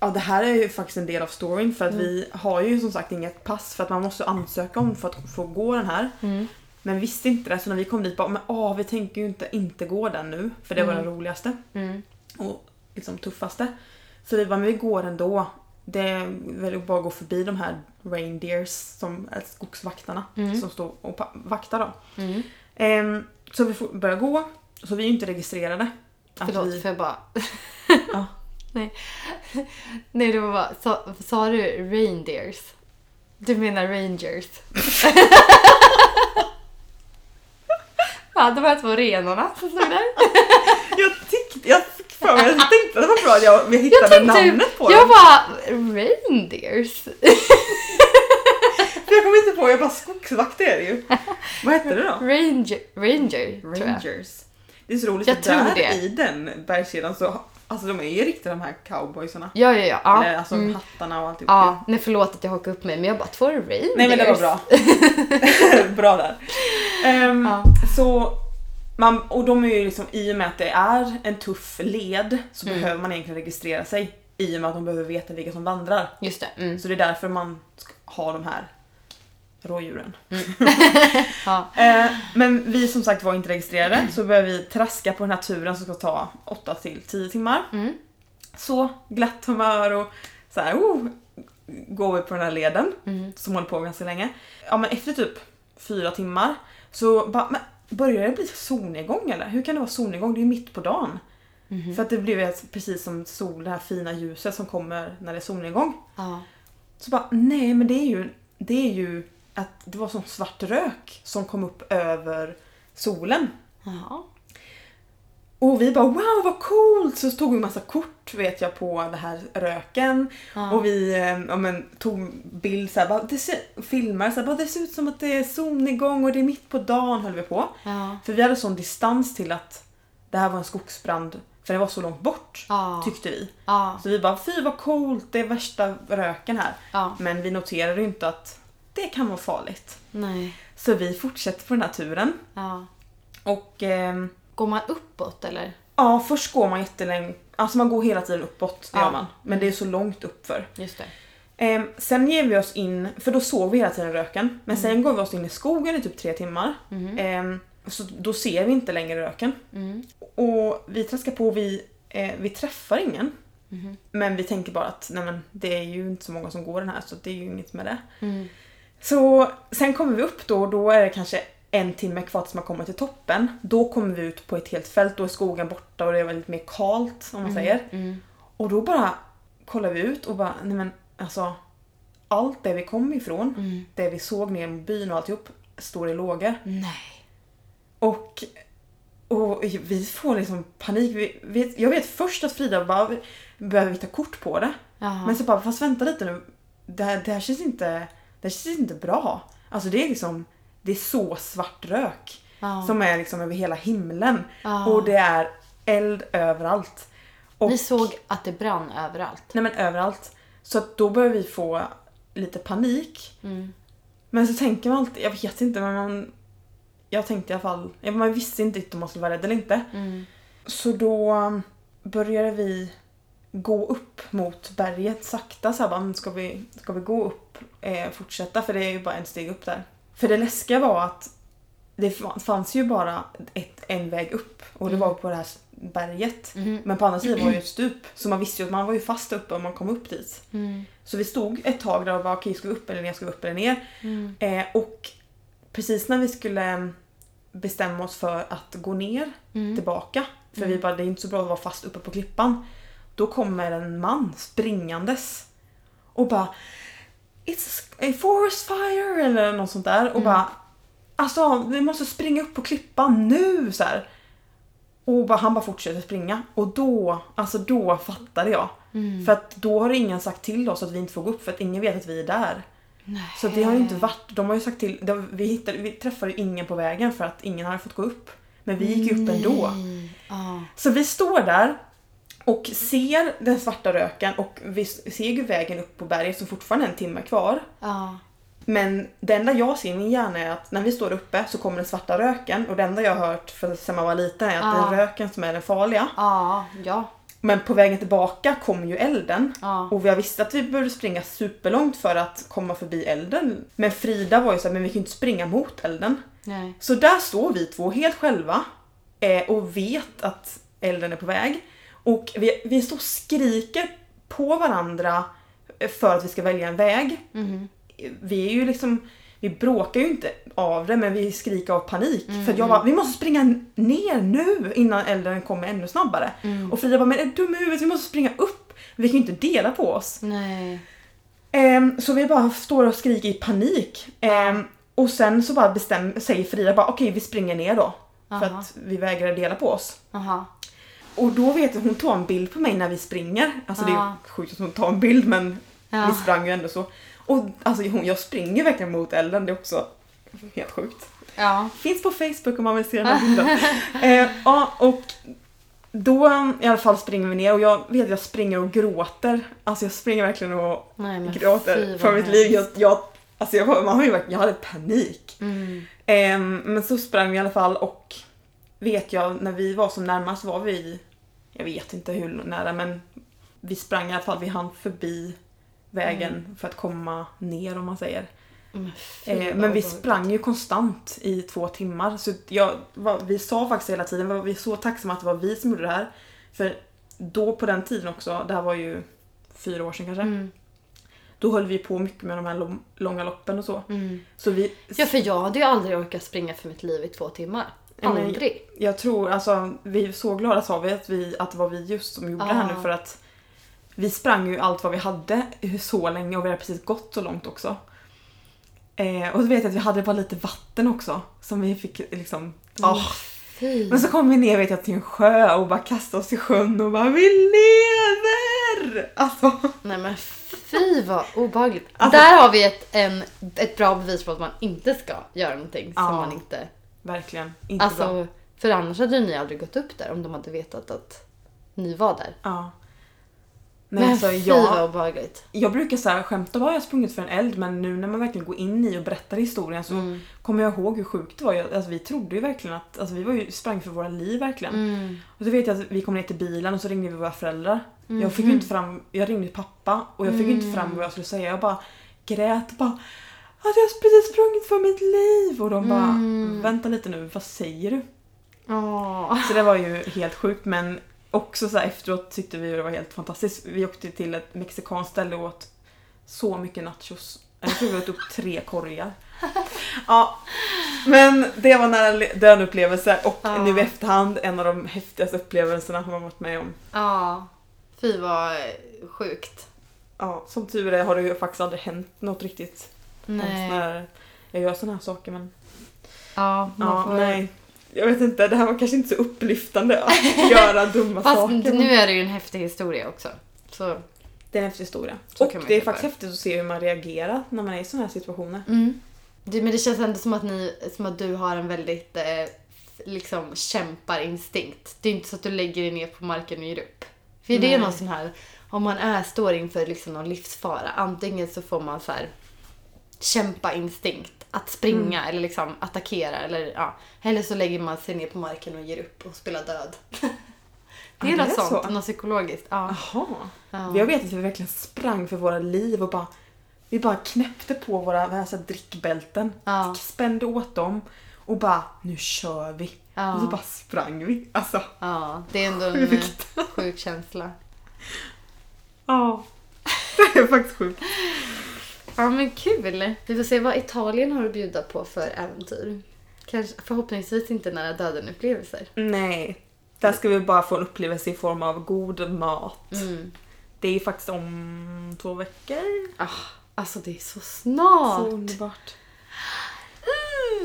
Speaker 3: ja, det här är ju faktiskt en del av storyn för att
Speaker 4: Mm.
Speaker 3: vi har ju som sagt inget pass för att man måste ansöka om för att få gå den här.
Speaker 4: Mm.
Speaker 3: Men vi visste inte det så när vi kom dit bara men åh vi tänker ju inte inte gå den nu för det var den roligaste
Speaker 4: Mm.
Speaker 3: och liksom tuffaste. Så vi bara men vi går ändå. Det är väl att bara gå förbi de här reindeers som är skogsvaktarna som står och pa- vaktar dem.
Speaker 4: Mm.
Speaker 3: Ehm, så vi får- börjar gå. Så vi är ju inte registrerade. Att
Speaker 4: Förlåt,
Speaker 3: vi-
Speaker 4: för jag bara...
Speaker 3: Ja.
Speaker 4: Nej. Nej, det var bara... Sa, sa du reindeers? Du menar
Speaker 3: <laughs>
Speaker 4: rangers? ja, de här två renarna som stod där.
Speaker 3: Jag tyckte, jag fick för mig, jag tänkte att det var bra att jag, jag
Speaker 4: Jag
Speaker 3: hittade
Speaker 4: tänkte... typ-
Speaker 3: namnet på
Speaker 4: jag
Speaker 3: dem.
Speaker 4: bara... Reindeers?
Speaker 3: Jag kom inte på, jag bara skogsvakter är det ju. Vad hette det då?
Speaker 4: Ranger, ranger, tror jag.
Speaker 3: Rangers. Det är så roligt
Speaker 4: Jag
Speaker 3: att
Speaker 4: tror
Speaker 3: där
Speaker 4: det.
Speaker 3: i den bergskedjan så, alltså de är ju riktigt de här cowboysarna.
Speaker 4: Ja, ja, ja. ja.
Speaker 3: Eller alltså
Speaker 4: mm.
Speaker 3: hattarna och alltihop.
Speaker 4: Ja, nej förlåt att jag hakade upp mig men jag bara två reindeers.
Speaker 3: Nej men det var
Speaker 4: <laughs>
Speaker 3: bra. bra där. Ehm,
Speaker 4: Ja.
Speaker 3: Så man, och de är ju liksom, i och med att det är en tuff led så
Speaker 4: Mm.
Speaker 3: behöver man egentligen registrera sig. I och med att de behöver veta vilka som vandrar.
Speaker 4: Just det. Mm.
Speaker 3: Så det är därför man ska ha de här rådjuren.
Speaker 4: Ja.
Speaker 3: Eh, men vi som sagt var inte registrerade så började vi traska på den här turen som ska ta 8 till 10 timmar.
Speaker 4: Mm.
Speaker 3: Så glatt humör och så här, oh, går vi på den här leden som håller på ganska länge. Ja men efter typ 4 timmar så bara, men börjar det bli solnedgång eller? Hur kan det vara solnedgång? Det är ju mitt på dagen. För att det blev ett- precis som sol, det här fina ljuset som kommer när det är solnedgång.
Speaker 4: Ja.
Speaker 3: Så bara, nej men det är ju, det är ju att det var sån svart rök som kom upp över solen.
Speaker 4: Jaha.
Speaker 3: Och vi bara wow vad coolt! Så tog vi massa kort vet jag på den här röken.
Speaker 4: Ja.
Speaker 3: Och vi eh, ja, men, tog bild såhär, bara, det ser, filmar såhär, bara, det ser ut som att det är solnedgång och det är mitt på dagen höll vi på.
Speaker 4: Ja.
Speaker 3: För vi hade sån distans till att det här var en skogsbrand för det var så långt bort
Speaker 4: Ja.
Speaker 3: tyckte vi.
Speaker 4: Ja.
Speaker 3: Så vi bara fy vad coolt, det är värsta röken här.
Speaker 4: Ja.
Speaker 3: Men vi noterade ju inte att det kan vara farligt.
Speaker 4: Nej.
Speaker 3: Så vi fortsätter på den här turen.
Speaker 4: Ja.
Speaker 3: Och ehm,
Speaker 4: Går man uppåt eller?
Speaker 3: ja, först går man jättelänge, alltså man går hela tiden uppåt, det
Speaker 4: Ja.
Speaker 3: gör man. Men det är så långt uppför.
Speaker 4: Just det.
Speaker 3: Ehm, sen ger vi oss in, för då såg vi hela tiden röken. Men
Speaker 4: Mm.
Speaker 3: sen går vi oss in i skogen i typ tre timmar.
Speaker 4: Mhm.
Speaker 3: Ehm, så då ser vi inte längre röken.
Speaker 4: Mm.
Speaker 3: Och vi traskar på, vi, eh, vi träffar ingen. Men vi tänker bara att nej men, det är ju inte så många som går den här så det är ju inget med det.
Speaker 4: Mm.
Speaker 3: Så sen kommer vi upp då och då är det kanske en timme kvar tills man kommer till toppen. Då kommer vi ut på ett helt fält, då är skogen borta och det är väldigt mer kalt om man säger. Och då bara kollar vi ut och bara, nej men alltså allt där vi kom ifrån, det vi såg ner mot byn och alltihop, står i lågor.
Speaker 4: Nej.
Speaker 3: Och, och vi får liksom panik. Vi, vi, jag vet först att Frida bara behöver vi ta kort på det.
Speaker 4: Jaha.
Speaker 3: Men så bara, fast vänta lite nu. Det här, det här känns inte, det här känns inte bra. Alltså det är liksom, det är så svart rök.
Speaker 4: Ja.
Speaker 3: Som är liksom över hela himlen.
Speaker 4: Ja.
Speaker 3: Och det är eld överallt. Och,
Speaker 4: Ni såg att det brann överallt.
Speaker 3: Nej men överallt. Så att då börjar vi få lite panik.
Speaker 4: Mm.
Speaker 3: Men så tänker man alltid, jag vet inte men man... Jag tänkte i alla fall, ja, man visste inte riktigt om man skulle vara rädd eller inte.
Speaker 4: Mm.
Speaker 3: Så då började vi gå upp mot berget sakta så här, bara, "Men ska, vi, ska vi gå upp, eh, fortsätta för det är ju bara en steg upp där. För det läskiga var att det fa- fanns ju bara ett, en väg upp och det var på det här berget. Men på andra sidan var ju ett stup så man visste ju att man var ju fast uppe om man kom upp dit.
Speaker 4: Mm.
Speaker 3: Så vi stod ett tag där och bara okej, ska vi upp eller ner, ska vi upp eller ner?
Speaker 4: Mm.
Speaker 3: Eh, och precis när vi skulle bestämma oss för att gå ner tillbaka, för vi bara det är inte så bra att vara fast uppe på klippan. Då kommer en man springandes och bara It's a forest fire eller något sånt där och bara Alltså vi måste springa upp på klippan nu så här. Och bara, han bara fortsätter springa. Och då, alltså då fattade jag. För att då har ingen sagt till oss att vi inte får gå upp för att ingen vet att vi är där. Så det har ju inte varit, de har ju sagt till, det har- vi, hittade, vi träffade ju ingen på vägen för att ingen hade fått gå upp. Men vi gick ju upp ändå.
Speaker 4: Ja.
Speaker 3: Så vi står där och ser den svarta röken och vi ser ju vägen upp på berget som fortfarande är en timme kvar.
Speaker 4: Ja.
Speaker 3: Men det enda jag ser i min hjärna är att när vi står uppe så kommer den svarta röken och det enda jag har hört för- sen man var liten är att
Speaker 4: Ja.
Speaker 3: det är röken som är den farliga.
Speaker 4: Ja. Ja.
Speaker 3: Men på vägen tillbaka kom ju elden.
Speaker 4: Ja.
Speaker 3: Och jag visste att vi behövde springa superlångt för att komma förbi elden. Men Frida var ju såhär, men vi kan ju inte springa mot elden.
Speaker 4: Nej.
Speaker 3: Så där står vi två helt själva eh, och vet att elden är på väg. Och vi, vi står och skriker på varandra eh, för att vi ska välja en väg. Vi är ju liksom, vi bråkar ju inte av det men vi skriker av panik. För att jag bara, vi måste springa ner nu innan elden kommer ännu snabbare. Och Frida bara, men är du dum i huvudet? Vi måste springa upp. Vi kan ju inte dela på oss.
Speaker 4: Nej.
Speaker 3: Ehm, så vi bara står och skriker i panik. Ehm, och sen så bara bestäm, säger Frida bara okej vi springer ner då. För
Speaker 4: Aha.
Speaker 3: att vi vägrar dela på oss.
Speaker 4: Aha.
Speaker 3: Och då vet jag, hon tar en bild på mig när vi springer. Alltså det är
Speaker 4: Ja.
Speaker 3: ju sjukt att hon tar en bild men
Speaker 4: Ja.
Speaker 3: vi sprang ju ändå så. Och alltså hon, jag springer verkligen mot elden, det är också helt sjukt.
Speaker 4: Ja.
Speaker 3: Finns på Facebook om man vill se den
Speaker 4: <laughs>
Speaker 3: här bilden. eh, ja, och då i alla fall springer vi ner och jag vet att jag springer och gråter. Alltså jag springer verkligen och
Speaker 4: Nej men fy,
Speaker 3: gråter
Speaker 4: vad
Speaker 3: för mitt
Speaker 4: hemskt.
Speaker 3: liv. Jag, jag, alltså jag, var- man har ju, verkligen- jag hade panik.
Speaker 4: Mm.
Speaker 3: Ehm, men så sprang vi i alla fall och vet jag när vi var som närmast var vi, jag vet inte hur nära men vi sprang i alla fall, vi hann förbi vägen för att komma ner om man säger.
Speaker 4: Men, Mm. fy,
Speaker 3: Eh,
Speaker 4: vad
Speaker 3: men vi
Speaker 4: obehagligt.
Speaker 3: sprang ju konstant i två timmar. Så jag, vad- vi sa faktiskt hela tiden, vad- vi är så tacksamma att det var vi som gjorde det här. För då på den tiden också, det här var ju fyra år sedan kanske.
Speaker 4: Mm.
Speaker 3: Då höll vi på mycket med de här lång, långa loppen och så.
Speaker 4: Mm.
Speaker 3: Så vi,
Speaker 4: Ja för jag hade ju aldrig orkat springa för mitt liv i två timmar.
Speaker 3: Nej, men-
Speaker 4: Aldrig.
Speaker 3: jag tror, alltså vi är så glada sa vi att, vi att det var vi just som gjorde
Speaker 4: Ah.
Speaker 3: det här nu för att vi sprang ju allt vad vi hade så länge och vi hade precis gått så långt också. Eh, och så vet jag att vi hade bara lite vatten också som vi fick liksom, ah.
Speaker 4: Fy.
Speaker 3: Men så kom vi ner vet jag till en sjö och bara kastade oss i sjön och bara vi lever! Alltså,
Speaker 4: Nej men fy vad obehagligt.
Speaker 3: Alltså-
Speaker 4: Där har vi ett, en, ett bra bevis på att man inte ska göra någonting som
Speaker 3: Ja.
Speaker 4: man inte...
Speaker 3: verkligen inte bra.
Speaker 4: Alltså, för annars hade ju ni aldrig gått upp där om de hade vetat att ni var där.
Speaker 3: Ja. Nej,
Speaker 4: Men
Speaker 3: men så
Speaker 4: fy vad
Speaker 3: jag,
Speaker 4: obehagligt.
Speaker 3: jag brukar så här skämta bara jag har sprungit för en eld men nu när man verkligen går in i och berättar historien
Speaker 4: Mm.
Speaker 3: så kommer jag ihåg hur sjukt det var. Jag, alltså, vi trodde ju verkligen att, alltså, vi var ju, sprang för våra liv verkligen.
Speaker 4: Mm.
Speaker 3: Och så vet jag att vi kom ner till bilen och så ringde vi våra föräldrar.
Speaker 4: Mm.
Speaker 3: Jag fick ju inte fram, jag ringde pappa och jag fick ju inte fram vad jag skulle säga. Jag bara grät och bara att jag har precis sprungit för mitt liv och de bara vänta lite nu, vad säger du?
Speaker 4: Åh.
Speaker 3: Så det var ju helt sjukt men också så här efteråt tyckte vi det var helt fantastiskt. Vi åkte till ett mexikanskt ställe och åt så mycket nachos. Jag tror vi åt upp tre
Speaker 4: <laughs>
Speaker 3: korgar. Ja, men det var nära le- döden-upplevelse och
Speaker 4: Ja.
Speaker 3: nu i efterhand en av de häftigaste upplevelserna man varit med om.
Speaker 4: Ja. Fy vad sjukt.
Speaker 3: Ja, som tur är har det ju faktiskt aldrig hänt något riktigt hemskt
Speaker 4: Nej.
Speaker 3: när jag gör sådana här saker men
Speaker 4: Ja, man
Speaker 3: ja,
Speaker 4: får...
Speaker 3: nej. Jag vet inte, det här var kanske inte så upplyftande
Speaker 4: <laughs>
Speaker 3: att göra dumma
Speaker 4: Fast
Speaker 3: saker. men-
Speaker 4: nu är det ju en häftig historia också. Så.
Speaker 3: Det är en häftig historia.
Speaker 4: Så
Speaker 3: och
Speaker 4: kan man
Speaker 3: det är
Speaker 4: inte
Speaker 3: faktiskt
Speaker 4: göra.
Speaker 3: häftigt att se hur man reagerar när man är i sådana här situationer.
Speaker 4: Mm. Det, men det känns ändå som att, ni, som att du har en väldigt eh, liksom kämparinstinkt. Det är inte så att du lägger dig ner på marken och ger upp. För det är någon sån här, om man är, står inför liksom någon livsfara, antingen så får man så här kämpainstinkt. Att springa
Speaker 3: Mm.
Speaker 4: eller liksom attackera eller ja. Eller så lägger man sig ner på marken och ger upp och spelar död. <laughs> det är
Speaker 3: Ja, det
Speaker 4: något
Speaker 3: är
Speaker 4: sånt,
Speaker 3: så.
Speaker 4: något psykologiskt. Ja.
Speaker 3: Jaha.
Speaker 4: Ja.
Speaker 3: Jag vet att vi verkligen sprang för våra liv och bara vi bara knäppte på våra här, så här, drickbälten,
Speaker 4: Ja.
Speaker 3: spände åt dem och bara nu kör vi.
Speaker 4: Ja.
Speaker 3: Och så bara sprang vi. Alltså,
Speaker 4: ja, det är ändå
Speaker 3: <laughs>
Speaker 4: en eh, sjuk känsla.
Speaker 3: ja. <laughs> Det är faktiskt sjukt.
Speaker 4: Ja men kul! Vi får se vad Italien har att bjuda på för äventyr. Kanske, förhoppningsvis inte nära döden-upplevelser.
Speaker 3: Nej. Där ska vi bara få en upplevelse i form av god mat.
Speaker 4: Mm.
Speaker 3: Det är faktiskt om två veckor.
Speaker 4: Ah, alltså det är så snart!
Speaker 3: underbart.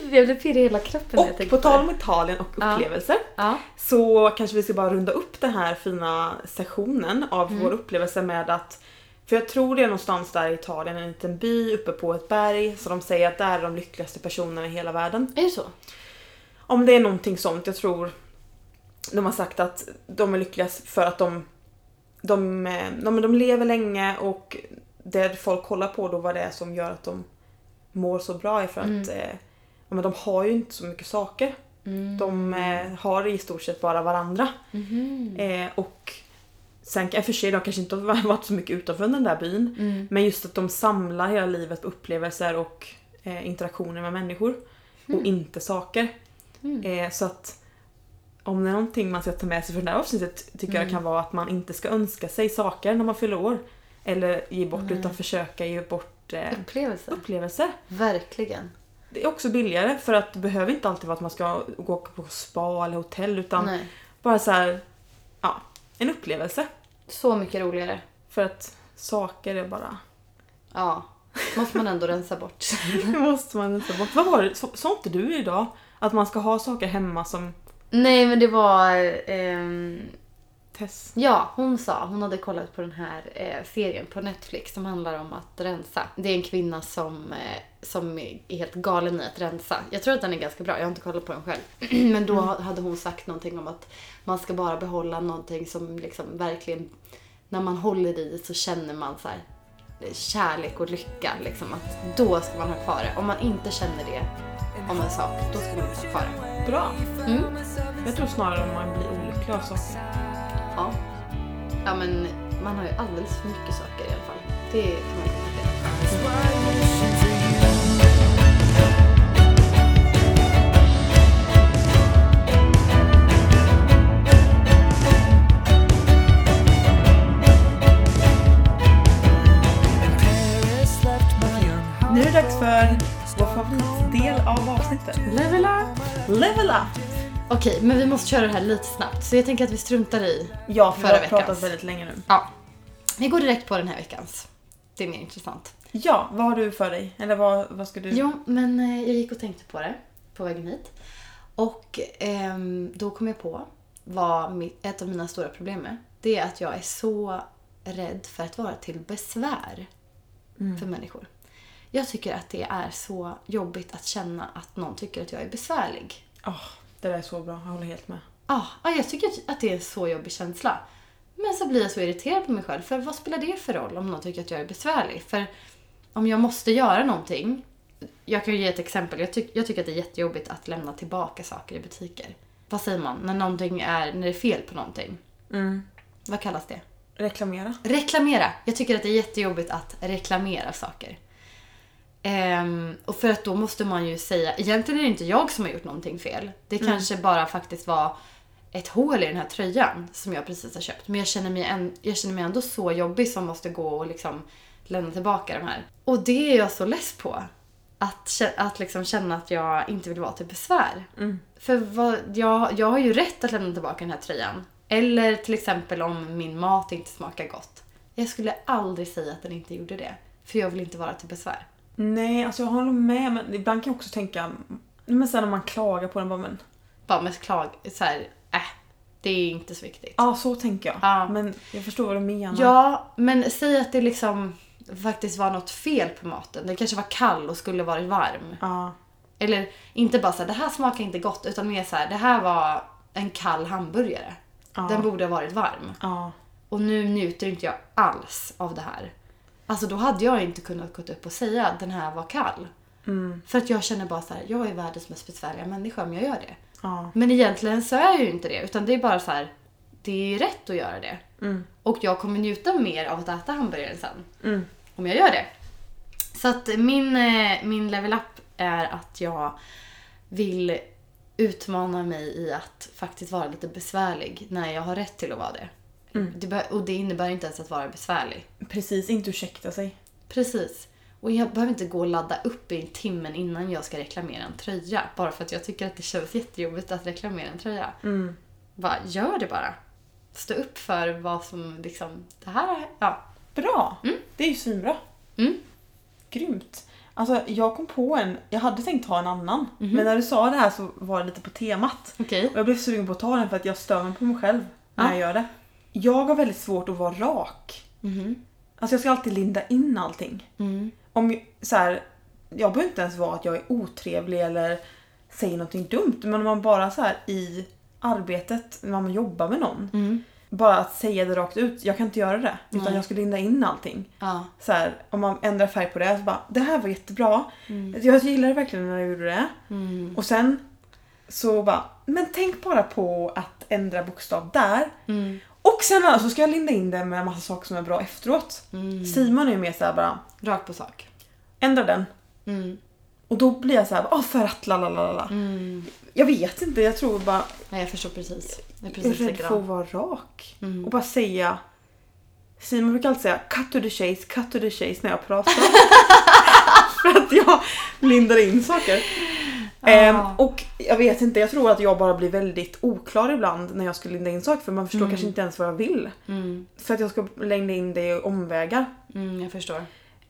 Speaker 4: Mm. Jag blev pirrig i hela kroppen när jag
Speaker 3: Och
Speaker 4: tänkte
Speaker 3: på tal
Speaker 4: det.
Speaker 3: om Italien och
Speaker 4: Ja.
Speaker 3: upplevelser
Speaker 4: Ja.
Speaker 3: så kanske vi ska bara runda upp den här fina sessionen av vår upplevelse med att för jag tror det är någonstans där i Italien, en liten by uppe på ett berg, så de säger att där är de lyckligaste personerna i hela världen.
Speaker 4: Är det så?
Speaker 3: Om det är någonting sånt, jag tror de har sagt att de är lyckligast för att de, de, eh, de, de lever länge och det folk kollar på då vad det är som gör att de mår så bra är för att eh, ja, men de har ju inte så mycket saker. De eh, har i stort sett bara varandra.
Speaker 4: Mhm. Mm.
Speaker 3: Eh, och sen, i och för sig, de kanske inte har <laughs> varit så mycket utanför den där byn.
Speaker 4: Mm.
Speaker 3: Men just att de samlar hela livet på upplevelser och eh, interaktioner med människor.
Speaker 4: Mm.
Speaker 3: Och inte saker. Eh, så att om det är någonting man ska ta med sig från det här avsnittet tycker
Speaker 4: Mm.
Speaker 3: jag det kan vara att man inte ska önska sig saker när man fyller år. Eller ge bort, utan försöka ge bort eh,
Speaker 4: Upplevelser.
Speaker 3: upplevelser.
Speaker 4: Verkligen.
Speaker 3: Det är också billigare för att det behöver inte alltid vara att man ska gå på spa eller hotell utan
Speaker 4: Nej.
Speaker 3: bara så här, ja, en upplevelse.
Speaker 4: Så mycket roligare.
Speaker 3: För att saker är bara...
Speaker 4: Ja. Måste man ändå rensa bort.
Speaker 3: <laughs> Det måste man rensa bort. Vad var det? Sa sa inte du idag att man ska ha saker hemma som
Speaker 4: Nej men det var... ehm,
Speaker 3: test?
Speaker 4: ja, hon sa. Hon hade kollat på den här eh, serien på Netflix som handlar om att rensa. Det är en kvinna som, eh, som är helt galen i att rensa. Jag tror att den är ganska bra. Jag har inte kollat på den själv. <clears throat> men då hade hon sagt någonting om att man ska bara behålla någonting som liksom verkligen... När man håller i så känner man så här eh, kärlek och lycka. Liksom, att då ska man ha kvar det. Om man inte känner det om en sak, då ska man inte ha kvar det.
Speaker 3: Bra.
Speaker 4: Mm.
Speaker 3: Jag tror snarare att man blir olycklig av saker.
Speaker 4: Ja. Ja men man har ju alldeles för mycket saker i alla fall. Det kan man konstatera.
Speaker 3: Nu är det dags för vår favoritdel av avsnittet.
Speaker 4: Level up!
Speaker 3: Level up!
Speaker 4: Okej, men vi måste köra det här lite snabbt så jag tänker att vi struntar i.
Speaker 3: Ja, för vi
Speaker 4: Förra
Speaker 3: har pratat
Speaker 4: veckans.
Speaker 3: väldigt länge nu.
Speaker 4: Ja. Vi går direkt på den här veckans. Det är mer intressant.
Speaker 3: Ja, vad har du för dig? Eller vad, vad ska du...
Speaker 4: Jo, men eh, jag gick och tänkte på det på vägen hit. Och ehm, då kom jag på vad mitt, ett av mina stora problem är. Det är att jag är så rädd för att vara till besvär för människor. Jag tycker att det är så jobbigt att känna att någon tycker att jag är besvärlig.
Speaker 3: Åh, det där är så bra, jag håller helt med.
Speaker 4: Ja, ah, jag tycker att- att det är en så jobbig känsla. Men så blir jag så irriterad på mig själv. För vad spelar det för roll om någon tycker att jag är besvärlig? För om jag måste göra någonting. Jag kan ju ge ett exempel. Jag, tyck- jag tycker att det är jättejobbigt att lämna tillbaka saker i butiker. Vad säger man när, någonting är, när det är fel på någonting?
Speaker 3: Mm.
Speaker 4: Vad kallas det?
Speaker 3: Reklamera.
Speaker 4: Reklamera. Jag tycker att det är jättejobbigt att reklamera saker. Ehm, och för att då måste man ju säga, egentligen är det inte jag som har gjort någonting fel. Det kanske bara faktiskt var ett hål i den här tröjan som jag precis har köpt. Men jag känner mig, en, jag känner mig ändå så jobbig som måste gå och liksom lämna tillbaka de här. Och det är jag så less på. Att, kä- att liksom känna att jag inte vill vara till besvär. För vad, jag, jag har ju rätt att lämna tillbaka den här tröjan. Eller till exempel om min mat inte smakar gott. Jag skulle aldrig säga att den inte gjorde det. För jag vill inte vara till besvär.
Speaker 3: Nej, alltså jag håller med men ibland kan jag också tänka, men sen när man klagar på den bara men
Speaker 4: Bara med klag, så här, äh, det är inte så viktigt.
Speaker 3: ja så tänker jag.
Speaker 4: Ja.
Speaker 3: Men jag förstår vad du menar.
Speaker 4: Ja, men säg att det liksom faktiskt var något fel på maten. Den kanske var kall och skulle varit varm.
Speaker 3: Ja.
Speaker 4: Eller inte bara så här, det här smakar inte gott, utan mer så här, det här var en kall hamburgare. Den borde ha varit varm.
Speaker 3: ja.
Speaker 4: Och nu njuter inte jag alls av det här. Alltså då hade jag inte kunnat gå upp och säga att den här var kall.
Speaker 3: Mm,
Speaker 4: För att jag känner bara så här, jag är världens mest besvärliga människa om jag gör det.
Speaker 3: Ja.
Speaker 4: Men egentligen så är jag ju inte det, utan det är bara så här, det är rätt att göra det.
Speaker 3: Mm,
Speaker 4: Och jag kommer njuta mer av att äta hamburgaren sen.
Speaker 3: mm.
Speaker 4: Om jag gör det. Så att min, eh, min level up är att jag vill utmana mig i att faktiskt vara lite besvärlig när jag har rätt till att vara det. det be- och det innebär inte ens att vara besvärlig.
Speaker 3: Precis, inte ursäkta sig.
Speaker 4: Precis. Och jag behöver inte gå och ladda upp i timmen innan jag ska reklamera en tröja. Bara för att jag tycker att det känns jättejobbigt att reklamera en tröja. Bara, gör det bara. Stå upp för vad som liksom, det här är, ja.
Speaker 3: Bra! Det är ju svinbra.
Speaker 4: Mm.
Speaker 3: Grymt. Alltså jag kom på en, jag hade tänkt ta en annan.
Speaker 4: Mhm.
Speaker 3: Men när du sa det här så var det lite på temat.
Speaker 4: Okej.
Speaker 3: Och jag blev sugen på att ta den för att jag stör mig på mig själv när
Speaker 4: Ja.
Speaker 3: jag gör det. Jag har väldigt svårt att vara rak.
Speaker 4: Mm-hmm.
Speaker 3: Alltså jag ska alltid linda in allting. Om, så här, jag behöver inte ens vara att jag är otrevlig eller säger någonting dumt. Men om man bara så här i arbetet, när man jobbar med någon.
Speaker 4: Mm-hmm.
Speaker 3: Bara att säga det rakt ut, jag kan inte göra det. Utan jag ska linda in allting.
Speaker 4: Ja.
Speaker 3: Så här, om man ändrar färg på det så bara, det här var jättebra. Jag gillade verkligen när jag gjorde det.
Speaker 4: Mm-hmm. Mm.
Speaker 3: Och sen så bara, men tänk bara på att ändra bokstav där.
Speaker 4: Mm.
Speaker 3: Och sen så ska jag linda in det med en massa saker som är bra efteråt. Simon är ju mer såhär bara,
Speaker 4: Rakt på sak. Mm.
Speaker 3: ändra den. Och då blir jag så här, ah för att lalalala. Jag vet inte, jag tror bara,
Speaker 4: Nej, Mm. jag förstår precis. Jag Mm. är
Speaker 3: jag är
Speaker 4: precis
Speaker 3: rädd för att
Speaker 4: likadan.
Speaker 3: vara rak. Och bara säga, Simon brukar alltid säga cut to the chase, cut to the chase när jag pratar. <laughs> för att jag lindar in saker. Ehm, och jag vet inte, jag tror att jag bara blir väldigt oklar ibland när jag ska linda in saker för man förstår kanske inte ens vad jag vill. För att jag ska linda in det i omvägar.
Speaker 4: Mm, jag förstår.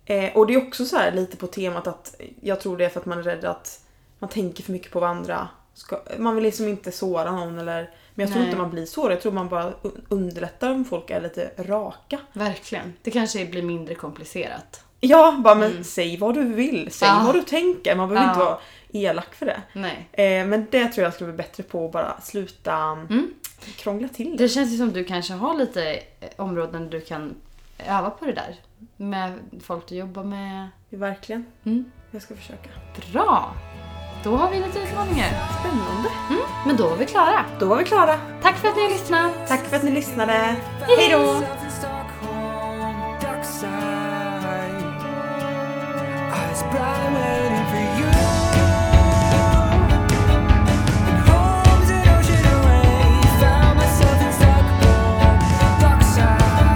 Speaker 3: Eh, och det är också så här lite på temat att jag tror det är för att man är rädd att man tänker för mycket på vad andra ska, Man vill liksom inte såra någon eller Men jag tror
Speaker 4: Nej.
Speaker 3: inte man blir sårad, jag tror man bara un- underlättar om folk är lite raka.
Speaker 4: Verkligen. Det kanske blir mindre komplicerat.
Speaker 3: Ja, bara men säg vad du vill, säg
Speaker 4: Mm. Ja.
Speaker 3: vad du tänker, man behöver
Speaker 4: Ja.
Speaker 3: inte vara elak för det.
Speaker 4: Nej.
Speaker 3: Eh, men det tror jag skulle bli bättre på att bara sluta mm, krångla till det.
Speaker 4: Det känns ju som Mm. du kanske har lite eh, områden du kan öva på det där. Med folk du jobbar med.
Speaker 3: Verkligen.
Speaker 4: Mm.
Speaker 3: Jag ska försöka.
Speaker 4: Bra! Då har vi lite utmaningar.
Speaker 3: Spännande.
Speaker 4: Mm, Men då var vi klara.
Speaker 3: Då var vi klara.
Speaker 4: Tack för att ni har lyssnat.
Speaker 3: Tack för att ni lyssnade.
Speaker 4: Hej då!
Speaker 2: Southern Stockholm, dockside. Eyes bright, waiting for you. And home's an ocean away. Found myself in Stockholm, dockside.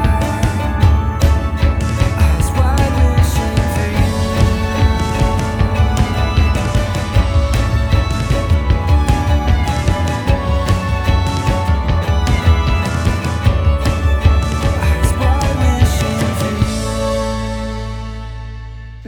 Speaker 2: Eyes wide, wishing for you. Eyes wide, wishing for